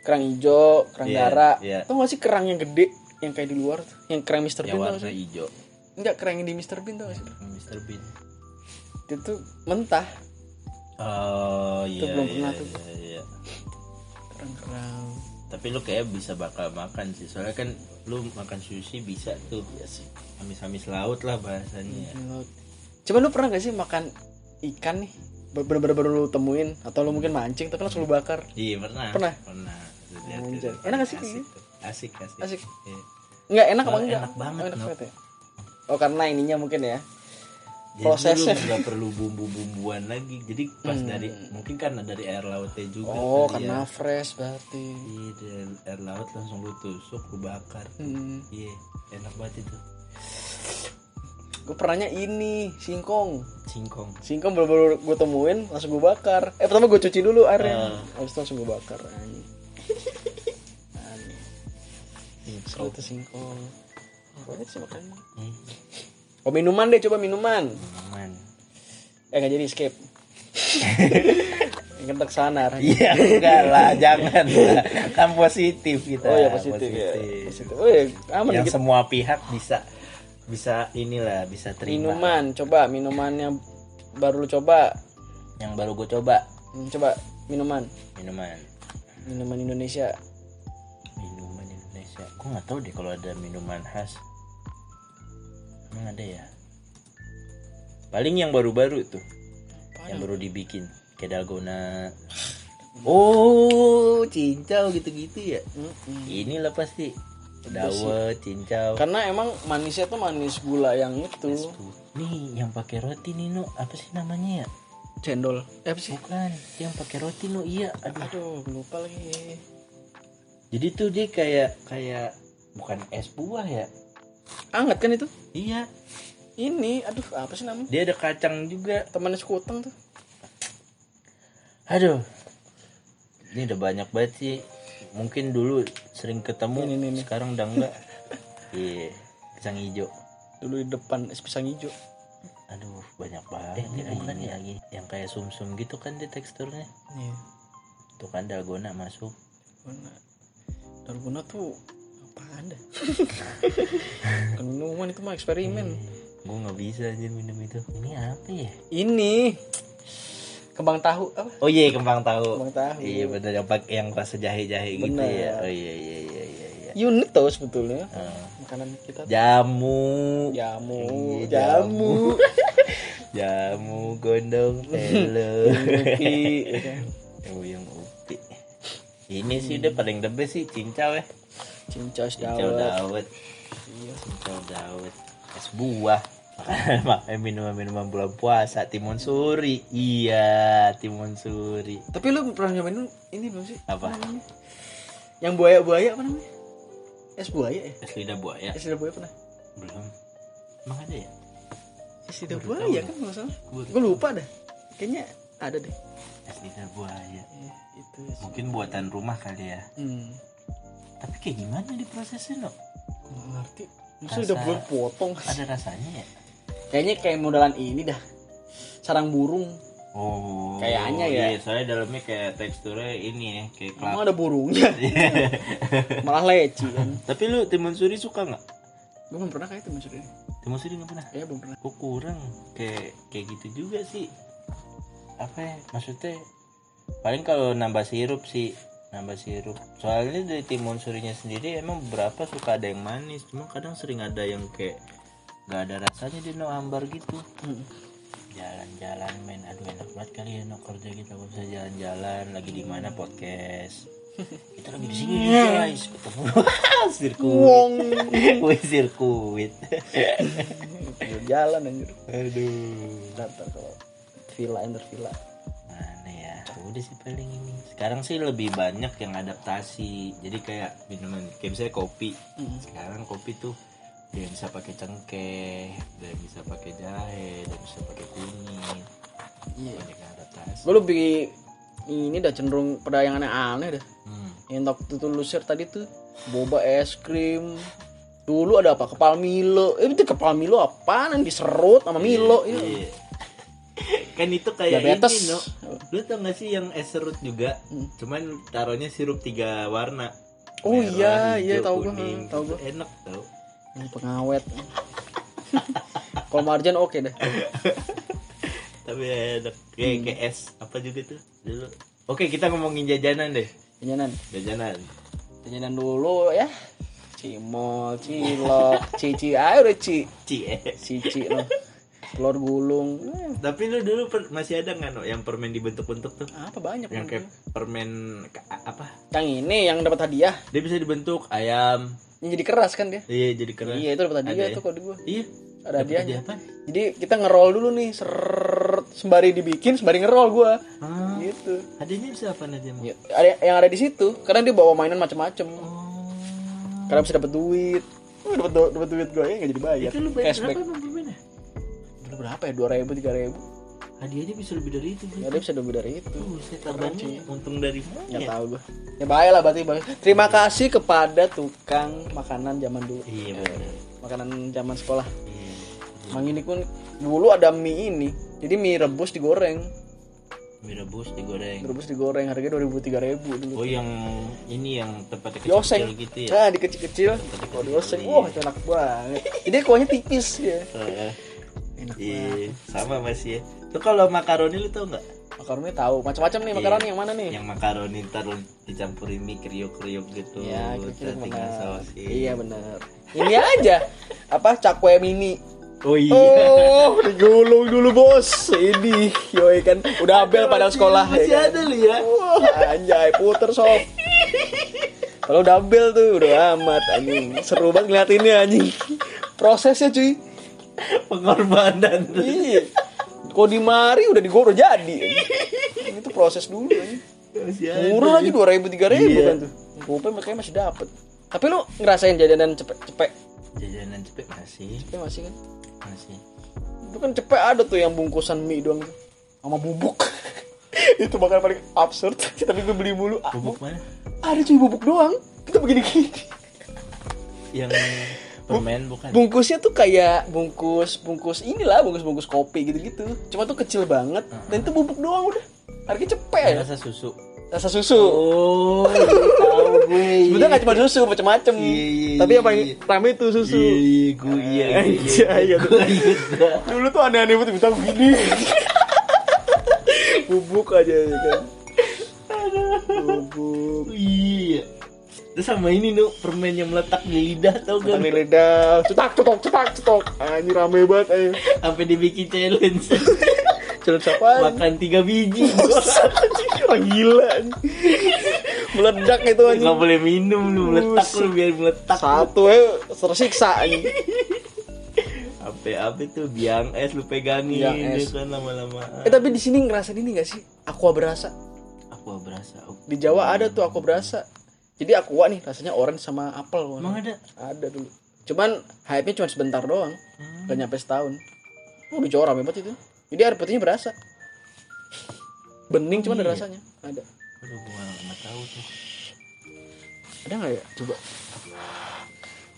kerang hijau kerang
Iya,
darah
iya.
tau nggak sih kerang yang gede yang kayak di luar tuh yang kerang Mr. Bean
ya
tau nggak
warna
sih
hijau
enggak kerang yang di Mr. Bean tau nggak sih
Mr. Bean
itu tuh mentah
oh iya
belum
iya,
pernah tuh.
iya, iya.
kerang kerang
tapi lu kayak bisa bakal makan sih soalnya kan lu makan sushi bisa tuh
ya sih
amis-amis laut lah bahasanya
Laut. Cuman lu pernah gak sih makan ikan nih bener-bener baru lu temuin atau lu mungkin mancing tapi langsung lu bakar
iya pernah
Pernah?
pernah Lihat
Anjay.
gitu.
Enak gak sih kayak
asik
gitu?
tuh. asik asik,
Asik.
Iya.
nggak enak apa
Soalnya
enggak
enak banget,
Oh, enak
Nok.
banget ya? oh karena ininya mungkin ya
Jadi
Prosesnya.
lu nggak perlu bumbu-bumbuan lagi jadi pas dari mungkin karena dari air lautnya juga
Hmm. oh
kali
karena
ya.
fresh berarti
Iya, dari air laut langsung lu tusuk lu bakar
hmm.
iya enak banget itu
gue pernahnya ini singkong
singkong
singkong baru-baru gue temuin langsung gue bakar eh pertama gue cuci dulu airnya
Ah.
habis itu langsung gue bakar anjing Anjing. seru
singkong
tuh singkong banyak sih makannya
Hmm,
oh minuman deh coba minuman
minuman
eh nggak jadi
[LAUGHS]
skip Yang ke sana arahnya.
Iya enggak lah jangan lah. kan positif kita
oh ya positif, ya positif oh ya aman
yang
kita
semua pihak bisa bisa inilah bisa terima
minuman coba minumannya baru lu coba
yang baru gue coba
Hmm, coba minuman
minuman
minuman Indonesia
minuman Indonesia gue nggak tahu deh kalau ada minuman khas emang ada ya paling yang baru-baru tuh yang baru dibikin kayak dalgona oh cincau gitu-gitu ya
Mm-mm.
inilah pasti dawet cincau
karena emang manisnya tuh manis gula yang itu
Nih yang pakai roti Nino apa sih namanya ya?
cendol eh, apa sih
Bukan yang pakai roti no iya. Aduh.
aduh lupa lagi
Jadi tuh dia kayak kayak bukan es buah ya
Anget kan itu?
iya
Ini, aduh apa sih namanya?
dia ada kacang juga
Temannya sekuteng tuh.
aduh ini udah banyak banget sih mungkin dulu sering ketemu
Ini, ini, ini.
sekarang udah [LAUGHS] enggak iya kacang hijau
Dulu di depan es pisang hijau.
aduh banyak banget bukan ya yang kayak sumsum gitu kan dia teksturnya
Iya.
tuh kan dalgona masuk
Dalgona. Dalgona tuh apaan
[LAUGHS]
dah? Bukan minuman itu mah eksperimen.
gue Hmm, nggak bisa aja minum itu ini apa ya
Ini kembang tahu apa?
oh iya kembang tahu
Kembang tahu.
iya bener yang pakai yang rasa jahe jahe gitu
Bener.
ya oh iya iya iya iya, iya.
Unik tau sebetulnya
Eh,
makanan kita. tuh.
jamu
Jamu,
Iya,
jamu,
jamu [LAUGHS] gondong telo [LAUGHS]
kopi, ya kan?
yang upi ini sih udah paling the best sih cincau ya
cincau
cincau
dawet.
dawet
Iya.
cincau dawet es buah [LAUGHS] Makanan- makan minuman minuman bulan puasa timun suri iya timun suri
Tapi lu pernah nyobain ini belum sih?
Apa?
namanya? Yang buaya-buaya apa namanya? Es buaya ya?
es lidah buaya
Es lidah buaya pernah?
belum emang ada ya
Es lidah
Baru tahu
buaya
gua.
kan nggak salah?
Gua baru
Gue lupa dah. Kayaknya ada deh.
es lidah Eh, buaya
Iya, itu.
mungkin buatan rumah kali ya
Hmm.
tapi kayak gimana diprosesnya lo
Nggak ngerti. Masa
Rasa-
udah buat potong.
ada rasanya ya
Kayaknya kayak modelan ini dah. Sarang burung.
oh
Kayaknya ya.
iya, soalnya dalamnya kayak teksturnya ini ya kayak
Emang
kelapa
ada [LAUGHS] burungnya. Iya. Malah leci kan.
tapi lu timun suri suka nggak
Gue belum pernah kayak itu maksudnya.
timun suri nggak pernah
Kayaknya belum pernah.
kok kurang kayak kayak gitu juga sih apa ya maksudnya paling kalau nambah sirup sih nambah sirup soalnya dari timun surinya sendiri emang berapa suka ada yang manis cuma kadang sering ada yang kayak nggak ada rasanya di no ambar gitu
Hmm.
jalan-jalan main aduh enak banget kali ya no kerja kita nggak bisa jalan-jalan lagi di mana podcast kita lagi di sini guys ketemu [LAUGHS] sirkuit
Wong.
Wih, sirkuit [LAUGHS]
Jalan anjir.
aduh
Daftar kalau villa enter villa.
mana ya udah sih paling ini sekarang sih lebih banyak yang adaptasi jadi kayak minuman kayak misalnya kopi sekarang kopi tuh dia bisa pakai cengkeh dia bisa pakai jahe dia bisa pakai kunyit
Iya.
banyak yang adaptasi
Gue lebih ini dah cenderung pada yang aneh-aneh dah.
hmm.
Yang waktu itu lu share tadi tuh boba es krim. Dulu ada apa? Kepal Milo. Eh itu kepal Milo apaan yang diserut sama Milo itu.
Iya. [LAUGHS] kan itu kayak
Diabetes. Hmm.
ini no lu tau gak sih yang es serut juga cuman taruhnya sirup tiga warna
Oh iya, iya,
hijau,
tahu gua,
kuning.
tahu gua.
Itu enak tau
Yang pengawet. Kalau marjan oke deh.
tapi ya, enak kayak
Hmm.
kayak es apa juga tuh dulu oke kita ngomongin jajanan deh
Jajanan.
jajanan
Jajanan dulu ya. Cimol, cilok, [LAUGHS] cici, ayo udah ci,
cies
cici loh. Telur gulung. Eh,
tapi lu dulu per- masih ada nggak no yang permen dibentuk-bentuk tuh
apa banyak Bang.
yang kayak permen ka- apa
Yang ini yang dapat hadiah.
dia bisa dibentuk ayam
Yang jadi keras kan dia.
iya jadi keren
Iya itu dapat hadiah
Ada ya?
tuh kalau di gua.
iya
Ada
Dapet
hadiahnya.
apa
Jadi kita ngerol dulu nih, serrrrrrrrrrrrrrrrrrrrrrrrrrrrrrrrrrrrrrrrrrrrrrrrrrrrrrrrr, sembari dibikin, sembari ngerol gua.
ah
Gitu.
hadiahnya bisa apa aja mau
Ya, ada yang ada di situ, karena dia bawa mainan macam-macam.
oh
Karena bisa dapat duit. Oh, dapat du- dapat duit gue ya nggak jadi bayar.
itu lu bayar
Cashback.
berapa ya? emang gimana
Dulu berapa ya? Dua ribu, tiga ribu.
hadiahnya bisa lebih dari itu
Ya, dia bisa lebih dari itu.
Buset, abangnya untung dari mana
Nggak
ya?
tahu gue. Ya bahaya lah berarti bahaya. Terima kasih kepada tukang makanan zaman dulu.
Iya, bener.
Makanan zaman sekolah.
Iya.
Mang ini pun dulu ada mie ini. Jadi mie rebus digoreng,
Mie rebus digoreng.
rebus digoreng harganya dua ribu tiga ribu dulu.
Oh yang ini yang tempatnya
Dioseng,
kecil gitu ya.
nah dikecil-kecil, kalau dioseng, wah itu enak banget. Jadi kuahnya tipis ya.
Heeh.
Enak banget.
Iya, sama masih ya. Tuh kalau makaroni lu tau nggak?
Makaroni tahu macam-macam nih makaroni
Iya.
yang mana nih?
Yang makaroni ntar lu dicampurin mie kriuk-kriuk gitu.
Iya, kira-kira
ntar tinggal
benar.
sausin.
Iya benar. Ini aja apa cakwe mini.
Oh iya.
Oh, digulung dulu bos. Ini, yoi kan udah abel pada
Masih-
sekolah
Masih
ya. kan?
ada lu ya.
Wah, anjay, puter sob. Kalau udah abel tuh udah amat anjing. Seru banget ngeliatinnya anjing. Prosesnya cuy.
Pengorbanan.
Iya. Kalau di mari udah digoreng jadi. Ini tuh proses dulu anjing.
Masih ada.
Murah lagi 2000 3000
Iya.
kan tuh. Gopay makanya masih dapet Tapi lu ngerasain jajanan cepet-cepet?
jajanan cepet masih
Cepet masih kan?
masih
Itu kan cepet ada tuh yang bungkusan mie doang tuh. Sama bubuk. [LAUGHS] itu bakal paling absurd. [LAUGHS] Tapi gue beli mulu. Ah,
bubuk mana
Ada cuy bubuk doang. Kita begini-gini.
yang permen bukan
Bungkusnya tuh kayak bungkus bungkus inilah bungkus bungkus kopi gitu-gitu. Cuma tuh kecil banget dan itu bubuk doang udah. Harga cepet ya.
Ah. rasa susu
Rasa susu.
oh
[LAUGHS]
tahu gue
Sebenernya gak cuma susu macem-macem.
Iya, iya,
Tapi yang paling
iya.
rame itu susu.
iya iya gue iya gue
[LAUGHS] Iya, iya.
Gue iya.
dulu tuh aneh-aneh banget bintang
[LAUGHS]
gini bubuk aja ya kan bubuk
Iya. Terus sama ini nu permen yang meletak di lidah tau gak?
Tangan di lidah cetak cetok cetak cetok anjir rame banget eh. [LAUGHS] ayo
Sampai dibikin [LAUGHS] challenge.
celup siapa
Makan tiga biji.
orang gila anjing. meledak itu anjing
Gak boleh minum lu meletak lu biar meletak.
satu eh tersiksa anjing
Apa apa itu biang es lu pegangin
Biang
ya
es.
kan lama-lama.
eh tapi di sini ngerasain ini gak sih aqua berasa
Aku berasa. aku-
di Jawa ada tuh aqua berasa jadi aqua nih rasanya orange sama apel
Emang ada?
Ada dulu. Cuman hype-nya cuma sebentar doang. Gak nyampe setahun. Oh, di Jawa rame banget itu. Jadi air putihnya berasa. Bening cuma ada rasanya. Ada.
Aduh gua nggak tahu tuh.
Ada nggak ya? Coba.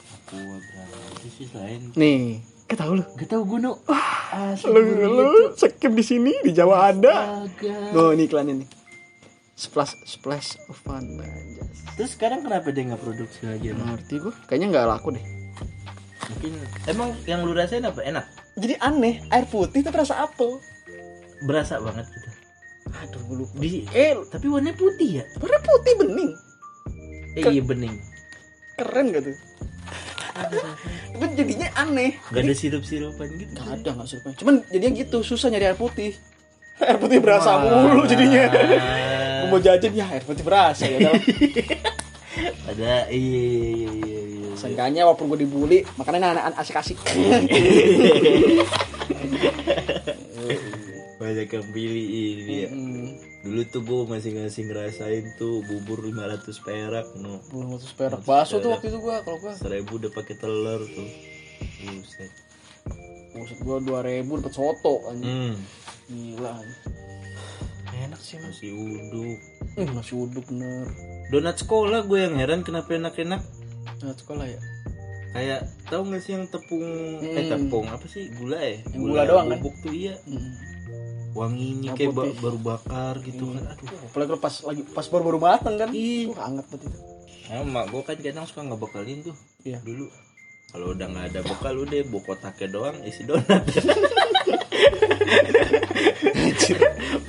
Aku berasa. Itu sih selain.
Nih. Kita tahu lu.
Gak tau gue nu. Asli
Lu,
gua
lu skip di sini di Jawa ada.
agak.
Oh, ini iklannya nih. Splash splash of fun anjas.
Terus sekarang kenapa dia nggak produksi lagi?
Nggak ngerti gue. Kayaknya nggak laku deh.
Mungkin emang yang lu rasain apa enak?
Jadi aneh, air putih tapi rasa apel.
Berasa banget gitu.
Aduh, gue lupa.
Di
Eh,
Tapi warnanya putih ya?
warna putih bening.
Eh, iya bening.
Keren gak tuh? Tapi jadinya aneh.
Gak ada sirup-sirupan gitu.
Gak ada gak survei. Cuman jadinya gitu, susah nyari air putih. Air putih berasa mulu jadinya. Gua mau jajan ya air putih berasa ya. udah.
[LAUGHS]
[LAUGHS]
ada iya iya iya iya. iya.
Seenggaknya walaupun gue dibully, makanya anak-anak asik-asik.
[LAUGHS]
Oh,
Banyak yang pilih ini ya.
Hmm,
Dulu tuh gue masing-masing ngerasain tuh bubur 500 perak no.
Belum waktu perak bakso tuh waktu itu gue kalau gue
1000 udah pakai telur tuh. Buset.
maksud gue dua ribu dapat soto anjing
Hmm.
gila anjing. enak sih mas
Masih uduk.
hmm, masih uduk bener
Donat sekolah gue yang heran kenapa enak-enak
nah sekolah ya
kayak tahu nggak sih yang tepung eh
Hmm.
tepung apa sih gula ya
Yang gula doang kan?
bubuk tuh iya
hmm.
wanginya
Yang
kayak ba-
putih. Iya.
baru bakar gitu kan aduh
apalagi kalau pas lagi pas baru-baru matang kan
Ih.
Wah, anget banget itu
sama gue kan kadang suka nggak bekalin tuh
Iya.
dulu kalau udah nggak ada bekal udah bawa kotaknya doang isi [LAUGHS] donat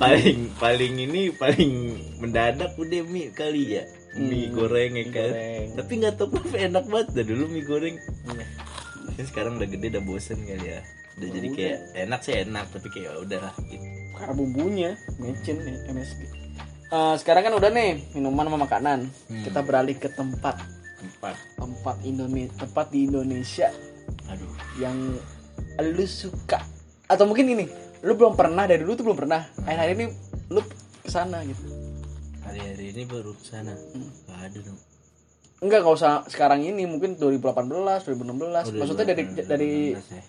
paling paling ini paling mendadak udah mie kali ya mie
Hmm,
goreng ya
mie
kan
goreng.
tapi nggak tahu kenapa enak banget dah dulu mie goreng
Iya.
Ini sekarang udah gede udah bosen kali ya udah jadi kayak enak sih enak tapi kayak ya udahlah gitu
karena bumbunya mecin ya, nih MSG Eh, sekarang kan udah nih minuman sama makanan kita beralih ke tempat
empat
tempat Indonesia tempat di Indonesia
aduh
yang lu suka atau mungkin ini lu belum pernah dari dulu tuh belum pernah akhir-akhir ini lu kesana gitu
hari-hari ini baru kesana
Hmm.
nggak ada dong
enggak nggak usah sekarang ini mungkin 2018
Oh,
2016 maksudnya dari dari
Rasa ya.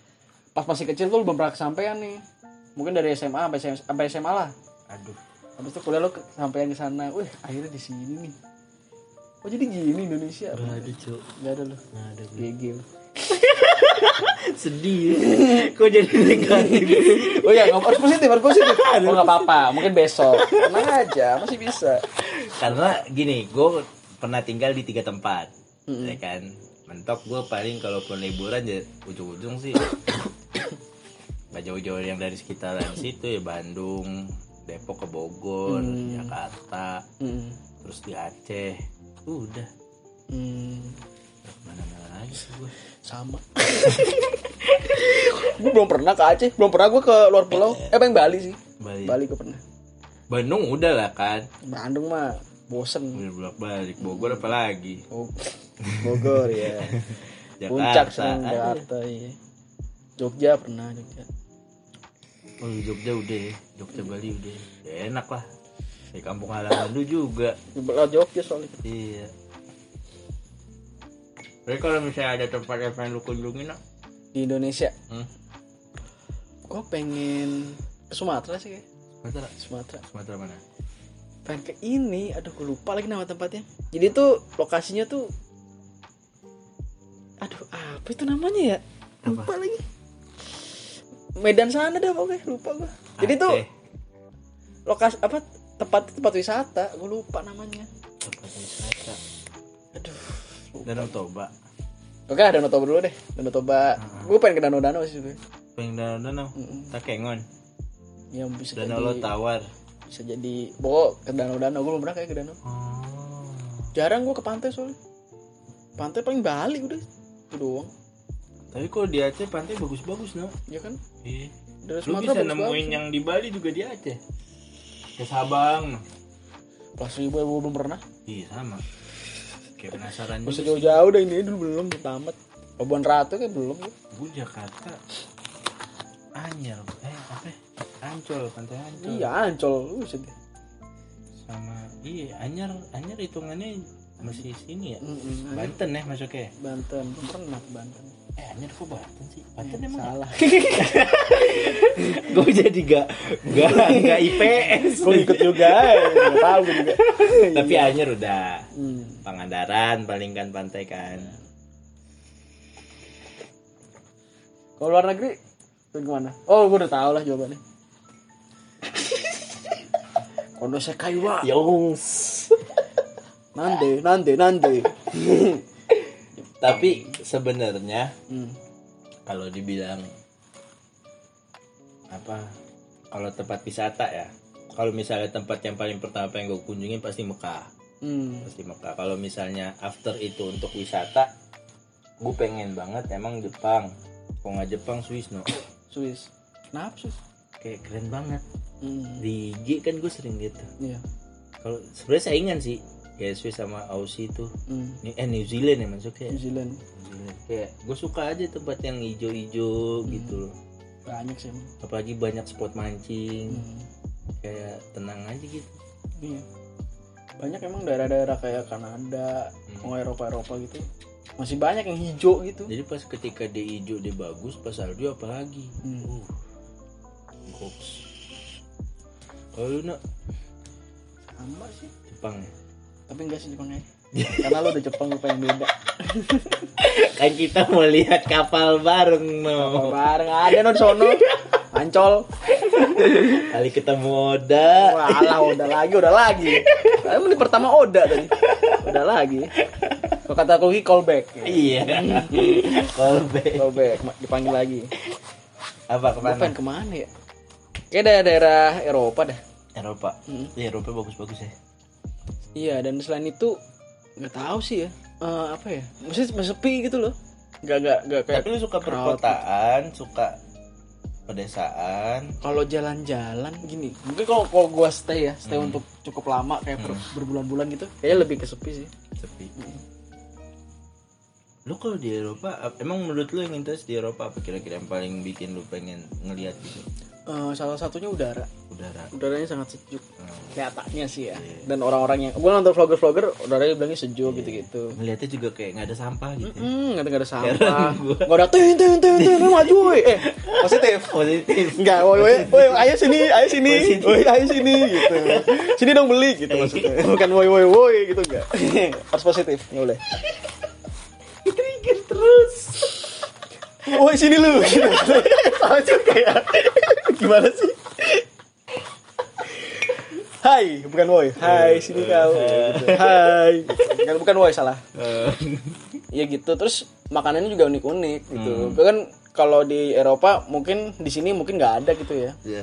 pas masih kecil tuh lu belum pernah kesampaian nih mungkin dari SMA sampai SMA, sampai SMA lah
aduh
habis itu kuliah lu ke- kesampaian ke sana wih akhirnya di sini nih oh jadi gini Indonesia
nggak ada cok
Gak ada lu
nggak ada gue
GG lu.
sedih [LAUGHS] kok jadi negatif
Oh iya, nggak- harus positif, harus positif Oh nggak apa-apa, mungkin besok Tenang aja, masih bisa
karena gini gue pernah tinggal di tiga tempat ya kan mentok gue paling kalaupun liburan ya ujung-ujung [COUGHS] sih gak jauh-jauh yang dari sekitaran situ ya Bandung Depok ke Bogor Jakarta
hmm.
terus di Aceh udah
Hmm,
mana-mana lagi sih gue
[LAUGHS] Sama Gue belum pernah ke Aceh, belum pernah gue ke luar pulau Eh pengen Bali sih
balik
Bali gue pernah
Bandung udah lah kan
Bandung mah bosen
udah bolak balik Bogor apa lagi
Oh, [LAUGHS] Bogor ya Puncak
Jakarta Kan?
sering Jakarta iya. Jogja pernah Jogja
Oh Jogja udah ya, Jogja Bali udah ya. Ya, enak lah
oh,
Di kampung halaman lu juga
Lewat Jogja soalnya
Iya Tapi kalau misalnya ada tempat yang pengen lu kunjungi nak,
di Indonesia
hmm?
gue pengen ke Sumatera sih kayak
Sumatera.
Sumatera
Sumatera mana?
pengen ke ini aduh gue lupa lagi nama tempatnya jadi tuh lokasinya tuh aduh apa itu namanya ya lupa lagi Medan sana dah pokoknya lupa gue jadi tuh
Aceh.
lokasi apa tempat tempat wisata gue lupa namanya
tempat wisata.
aduh lupa.
Danau Toba.
Oke, lah, Danau Toba dulu deh. Danau
Ah.
Toba. Gue pengen ke Danau Danau sih sebenernya.
Pengen danau danau. Takengon.
Yang Ya, bisa
Danau
jadi
Lotawar.
bisa jadi pokok ke Danau Danau gue belum pernah kayak ke Danau.
Oh.
Jarang gue ke pantai soalnya. Pantai paling Bali udah itu doang.
Tapi kok di Aceh pantai bagus-bagus nak.
Ya kan?
Iya.
Dari
Lu
Sumatera
bisa
bagus
nemuin yang di Bali juga di Aceh. Ke Sabang.
Plus ribu gue belum pernah.
Iya sama. Kayak penasaran
Bisa
juga.
Hmm. jauh-jauh deh ini dulu belum tamat. Labuan Ratu kayak belum. gua.
Gue Jakarta. Anyer, eh apa? ya? Ancol, pantai Ancol.
Iya, Ancol. Buset deh.
Sama iya, Anyer, Anyer hitungannya masih sini ya.
Mm-mm.
Banten ya masuknya.
Banten, belum pernah ke Banten. Iya,
Eh Anyer kok Banten sih? Banten emang ya?
[LAUGHS] Salah.
gue jadi gak [LAUGHS] gak gak [LAUGHS] IPS
gue ikut juga, ya. Nggak tahu gua juga.
tapi Anyer udah
Hmm.
Pangandaran paling kan pantai kan
Kalau luar negeri lu gimana? Oh, gue udah tau lah jawabannya. [LAUGHS] Kondo Sekaiwa.
Yongs
Nande, nande, nande.
tapi sebenarnya
Hmm.
kalau dibilang apa kalau tempat wisata ya kalau misalnya tempat yang paling pertama yang gue kunjungin pasti Mekah
Hmm.
pasti Mekah kalau misalnya after itu untuk wisata gue pengen banget emang Jepang kok nggak Jepang Swiss no
Swiss. Kenapa Swiss?
kayak keren banget
Hmm.
di IG kan gue sering gitu
Iya.
kalau sebenarnya saingan sih kayak Swiss sama Aussie tuh
Hmm.
New, eh New Zealand ya maksudnya
New Zealand
New Zealand. kayak gue suka aja tempat yang hijau-hijau gitu loh
banyak sih emang.
apalagi banyak spot mancing
Hmm.
kayak tenang aja gitu
Iya. Banyak emang daerah-daerah kayak Kanada, mau Eropa-Eropa gitu. Masih banyak yang hijau gitu.
jadi pas ketika dia hijau dia bagus pas salju apalagi
Hmm.
uh goks kalau lu nak
Sama sih.
Jepang ya
Tapi enggak sih Jepangnya. Karena lu udah Jepang lu pengen beda.
kan kita mau lihat kapal bareng
Kalau
no
bareng ada non sono. Ancol.
kali ketemu Oda
Wah, alah, udah lagi, udah lagi. Kamu menit pertama Oda tadi. Udah lagi. Kalau kata Kogi callback.
iya callback
Callback, ma- dipanggil lagi.
apa
Gue
kemana
pengen kemana ya? Kayak daerah-daerah Eropa dah.
Eropa Iya, Eropa bagus-bagus ya
Iya, dan selain itu nggak tahu sih ya. Eh, apa ya? Maksudnya sepi gitu loh. Nggak nggak nggak kayak.
tapi lu suka
crowd.
perkotaan suka pedesaan
Kalau jalan-jalan gini, mungkin kalau kalau gua stay ya, stay untuk cukup lama kayak ber- berbulan-bulan gitu, kayaknya lebih ke sepi sih.
sepi lu kalau di Eropa ap- emang menurut lu yang interest di Eropa apa kira-kira yang paling bikin lu pengen ngelihat gitu
Eh, salah satunya udara.
udara Eh,
udaranya sangat sejuk
Hmm.
kelihatannya sih ya dan orang-orang yang gue nonton vlogger-vlogger udaranya bilangnya sejuk gitu-gitu
ngelihatnya juga kayak nggak ada sampah gitu
hmm nggak nggak ada sampah nggak ada tin tin tin tin lu maju woi eh positif
positif
[LAUGHS] nggak woi woi woi oh, ayo sini ayo sini woi ayo sini gitu sini dong beli gitu maksudnya bukan woi woi woi gitu enggak [LAUGHS] harus positif nggak boleh
trigger terus
woi sini lu gitu. sama juga ya gimana sih Hai, bukan woi. Hai, sini kau. Gitu. Hai. Bukan bukan woi salah.
Eh,
ya gitu terus makanannya juga unik-unik gitu Gua kan kalau di Eropa mungkin di sini mungkin nggak ada gitu ya
ya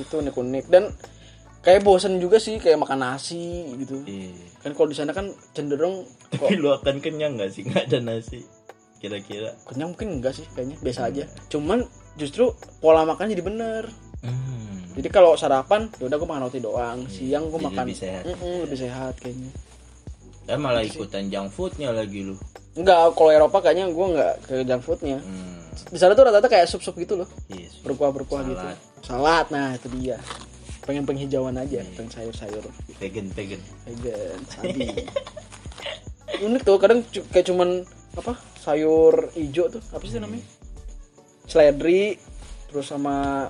gitu unik-unik dan kayak bosen juga sih kayak makan nasi gitu
Iya.
kan kalau di sana kan cenderung
tapi lu akan kenyang nggak sih nggak ada nasi kira-kira
kenyang mungkin enggak sih kayaknya biasa aja
Iya.
cuman justru pola makan jadi bener
hmm.
jadi kalau sarapan ya udah gue makan roti doang siang gue
Iya. Jadi
makan
lebih sehat.
Mm-mm, lebih sehat kayaknya
Eh, malah ikutan junk foodnya lagi lu
enggak kalau Eropa kayaknya gue nggak ke junk foodnya
hmm. iya
di sana tuh rata-rata kayak sup-sup gitu loh
yes.
berkuah-berkuah gitu.
Salad.
Salad, nah itu dia. Pengen penghijauan aja,
Iya.
pengen sayur-sayur.
vegan vegan
[LAUGHS] Vegan, sabi. Unik tuh, kadang cu- kayak cuman apa sayur ijo tuh apa sih itu namanya seledri terus sama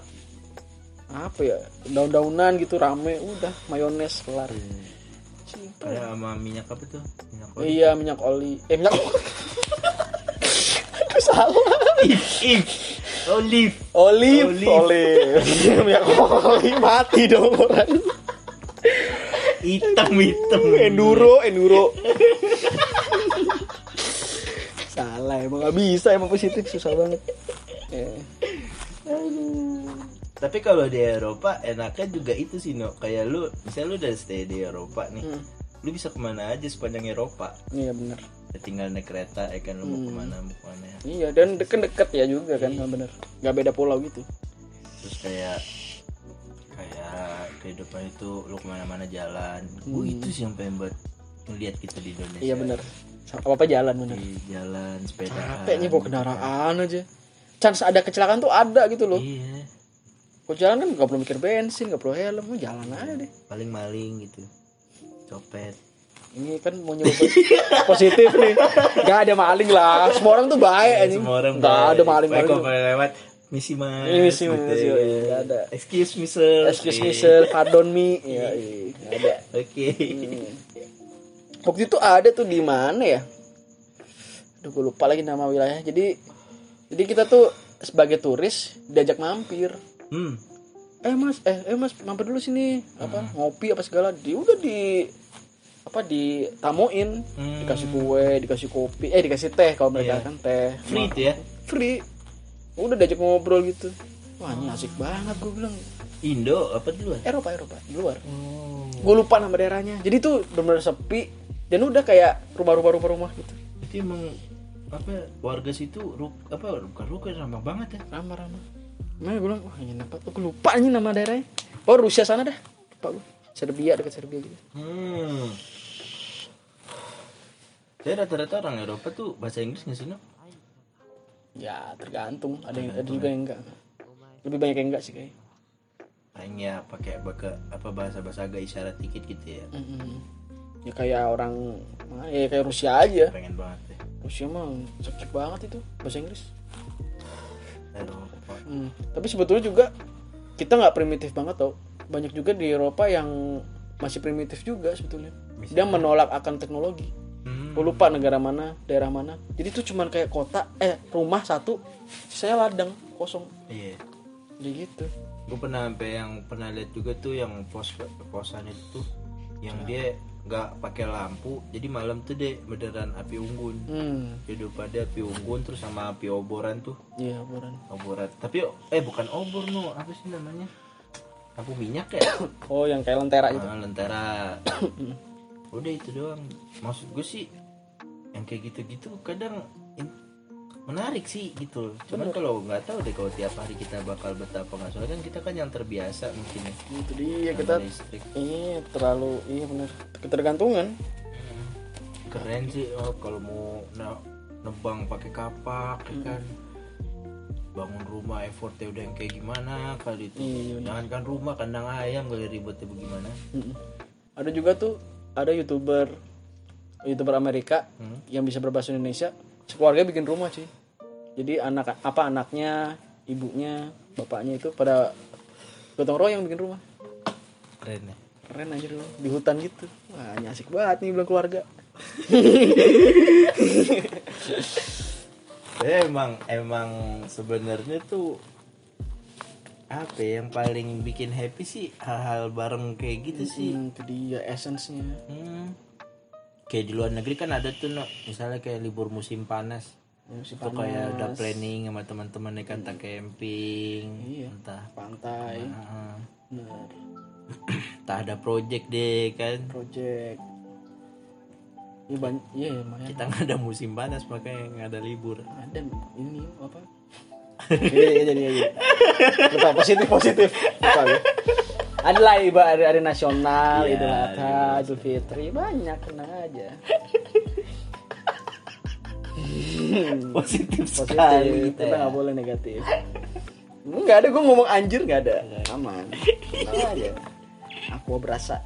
apa ya daun-daunan gitu rame udah mayones kelar Simple.
Kayak sama minyak apa tuh? Minyak
iya minyak oli eh minyak [LAUGHS] Aku salah
Ih, olive.
olive
Olive.
olive [LAUGHS] minyak oli mati dong orang
Hitam hitam.
enduro enduro [LAUGHS] salah emang nggak bisa emang positif susah banget Eh,
Tapi kalau di Eropa enaknya juga itu sih no. Kayak lu, misalnya lu udah stay di Eropa nih.
Hmm.
Lu bisa kemana aja sepanjang Eropa.
iya benar
Ya, tinggal naik kereta, ya kan lu
Hmm.
mau kemana mau kemana. ya?
iya dan deket-deket ya juga kan bener nggak beda pulau gitu
Terus kayak kayak kehidupan itu lu kemana-mana jalan. Gua itu sih yang pengen buat ngeliat kita di Indonesia.
Hmm. iya bener apa apa jalan bener
Di jalan sepeda.
capeknya bawa kendaraan aja chance ada kecelakaan tuh ada gitu loh
Iya.
Kalau jalan kan nggak perlu mikir bensin nggak perlu helm lu jalan aja deh
Paling maling gitu. Copet.
ini kan mau [LAUGHS] nyoba positif nih nggak ada maling lah Iya, semua orang tuh baik anjing
Semua orang
nggak
baik.
ada maling
Baik,
maling
kalau pada lewat misi mas.
Iya, misi mas, iya,
ya.
iya, nggak ada.
Excuse me sir.
excuse me
Iya.
sir pardon me ya iya, nggak ada
Oke.
waktu itu ada tuh di mana ya aduh gue lupa lagi nama wilayah jadi jadi kita tuh sebagai turis diajak mampir
Hmm.
eh mas eh, eh mas mampir dulu sini apa ngopi apa segala dia udah di apa ditamuin
Hmm.
dikasih kue dikasih kopi eh dikasih teh kalau mereka
Iya.
kan teh
Free itu ya.
free udah diajak ngobrol gitu wah ini asik banget gue bilang
Indo apa duluan?
Eropa Eropa di luar
Oh.
gue lupa nama daerahnya jadi tuh benar-benar sepi dan udah kayak rumah-rumah rumah-rumah gitu
Itu emang apa warga situ ruk apa bukan ruka ramah banget ya.
ramah-ramah nah gue bilang wah ini apa gue lupa ini nama daerahnya oh Rusia sana dah lupa gue Serbia dekat Serbia gitu
Hmm. Saya rata-rata orang Eropa tuh bahasa Inggris nggak sih no?
ya tergantung ada yang ada juga yang enggak lebih banyak yang enggak sih kayak
Hanya pakai baka- apa bahasa-bahasa agak isyarat dikit gitu ya.
ya kayak orang ya kayak Rusia aja
Pengen banget ya.
Rusia mah cocok banget itu bahasa Inggris
Eropa.
Hmm, tapi sebetulnya juga kita nggak primitif banget tau banyak juga di Eropa yang masih primitif juga sebetulnya dia menolak akan teknologi
Hmm.
gue lupa negara mana daerah mana jadi tuh cuman kayak kota eh rumah satu sisanya ladang kosong
Iya.
jadi gitu
gue pernah sampai yang pernah lihat juga tuh yang pos posan itu yang dia nggak pakai lampu jadi malam tuh deh beneran api unggun
hmm
hidup pada api unggun terus sama api oboran tuh
iya buran
oboran tapi eh bukan obor no apa sih namanya lampu minyak ya
oh yang kayak lentera gitu
ah, lentera [COUGHS] udah itu doang maksud gue sih yang kayak gitu-gitu kadang in- menarik sih gitu cuman kalau nggak tahu deh kalau tiap hari kita bakal betapa nggak soalnya kan kita kan yang terbiasa mungkin ya
Nah, itu dia
sama
kita
listrik
iya terlalu iya bener ketergantungan
keren sih oh, kalau mau ne- nebang pakai kapak ya kan bangun rumah effortnya udah yang kayak gimana kali itu
Iya, iya.
jangan kan rumah kandang ayam kali ribetnya bagaimana
Mm-mm. ada juga tuh ada youtuber youtuber Amerika
Hmm.
yang bisa berbahasa Indonesia sekeluarga bikin rumah cuy jadi anak apa anaknya ibunya bapaknya itu pada gotong royong bikin rumah
keren ya
keren aja dulu di hutan gitu wah ini asik banget nih bilang keluarga
Tapi emang emang sebenarnya tuh apa ya, yang paling bikin happy sih hal-hal bareng kayak gitu sih
hmm, itu dia esensinya
Hmm. kayak di luar negeri kan ada tuh no, misalnya kayak libur musim panas
Musim
Itu kayak udah planning sama teman-teman naik kata camping
Iya.
entah
pantai
[CLEARS THROAT] ah,
bener
entah ada project deh kan
project ya banyak ya lumayan
kita nggak ada musim panas makanya nggak ada libur
ada ini apa jadi jadi jadi Lupa, positif positif Lupa gue. ada lah iba hari, hari nasional
Iya,
idul adha
iya.
idul fitri banyak tenang aja
positif sekali
Hmm. positif
gitu ya. kita
kita nggak boleh negatif nggak ada gue ngomong anjir nggak ada aman tenang aja aku berasa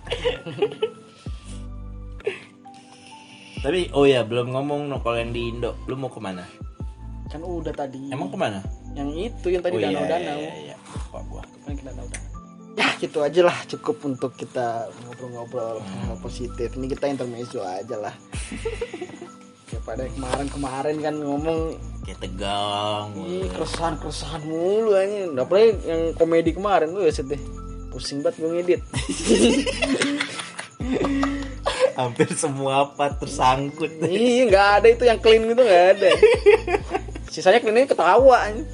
Tapi oh ya belum ngomong no kalau yang di Indo, lu mau kemana?
kan udah tadi
Emang kemana?
yang itu yang tadi
oh, iya,
danau-danau
Iya, iya, iya. Lupa gua.
kan kita tahu dah. Ya gitu aja lah cukup untuk kita ngobrol-ngobrol hal positif. Ini kita intermezzo aja [LAUGHS] lah. Daripada kemarin-kemarin kan ngomong
Kayak tegang.
ih keresahan-keresahan mulu aja. Apalagi yang komedi kemarin tuh ya deh. Pusing banget gue [LAUGHS] ngedit.
Hampir semua apa tersangkut.
Iya nggak ada itu yang clean gitu nggak ada. Sisanya cleannya ketawa. [LAUGHS] anjing.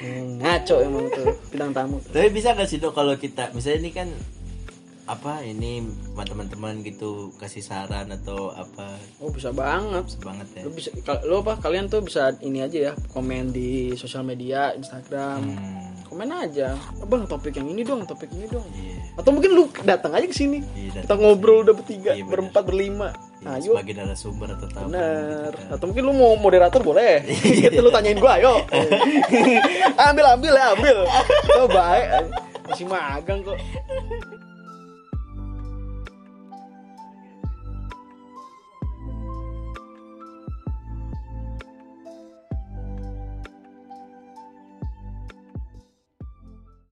Hmm, Ngaco emang tuh bidang tamu.
Tapi bisa gak sih dok kalau kita misalnya ini kan apa ini buat teman-teman gitu kasih saran atau apa
Oh bisa banget.
banget ya.
lu bisa kal- lu apa kalian tuh bisa ini aja ya komen di sosial media Instagram
Hmm,
komen aja bang topik yang ini dong topik ini dong
iya.
atau mungkin lu datang aja ke sini kita
Iya, datang
ngobrol udah bertiga
Iya, bener.
berempat berlima
Iya,
ayo
sebagai narasumber atau tamu.
bener
gitu kan.
atau mungkin lu mau moderator
[LAUGHS]
boleh
Iya.
gitu lu tanyain gua ayo ambil ambil ya ambil oh baik masih eh. magang kok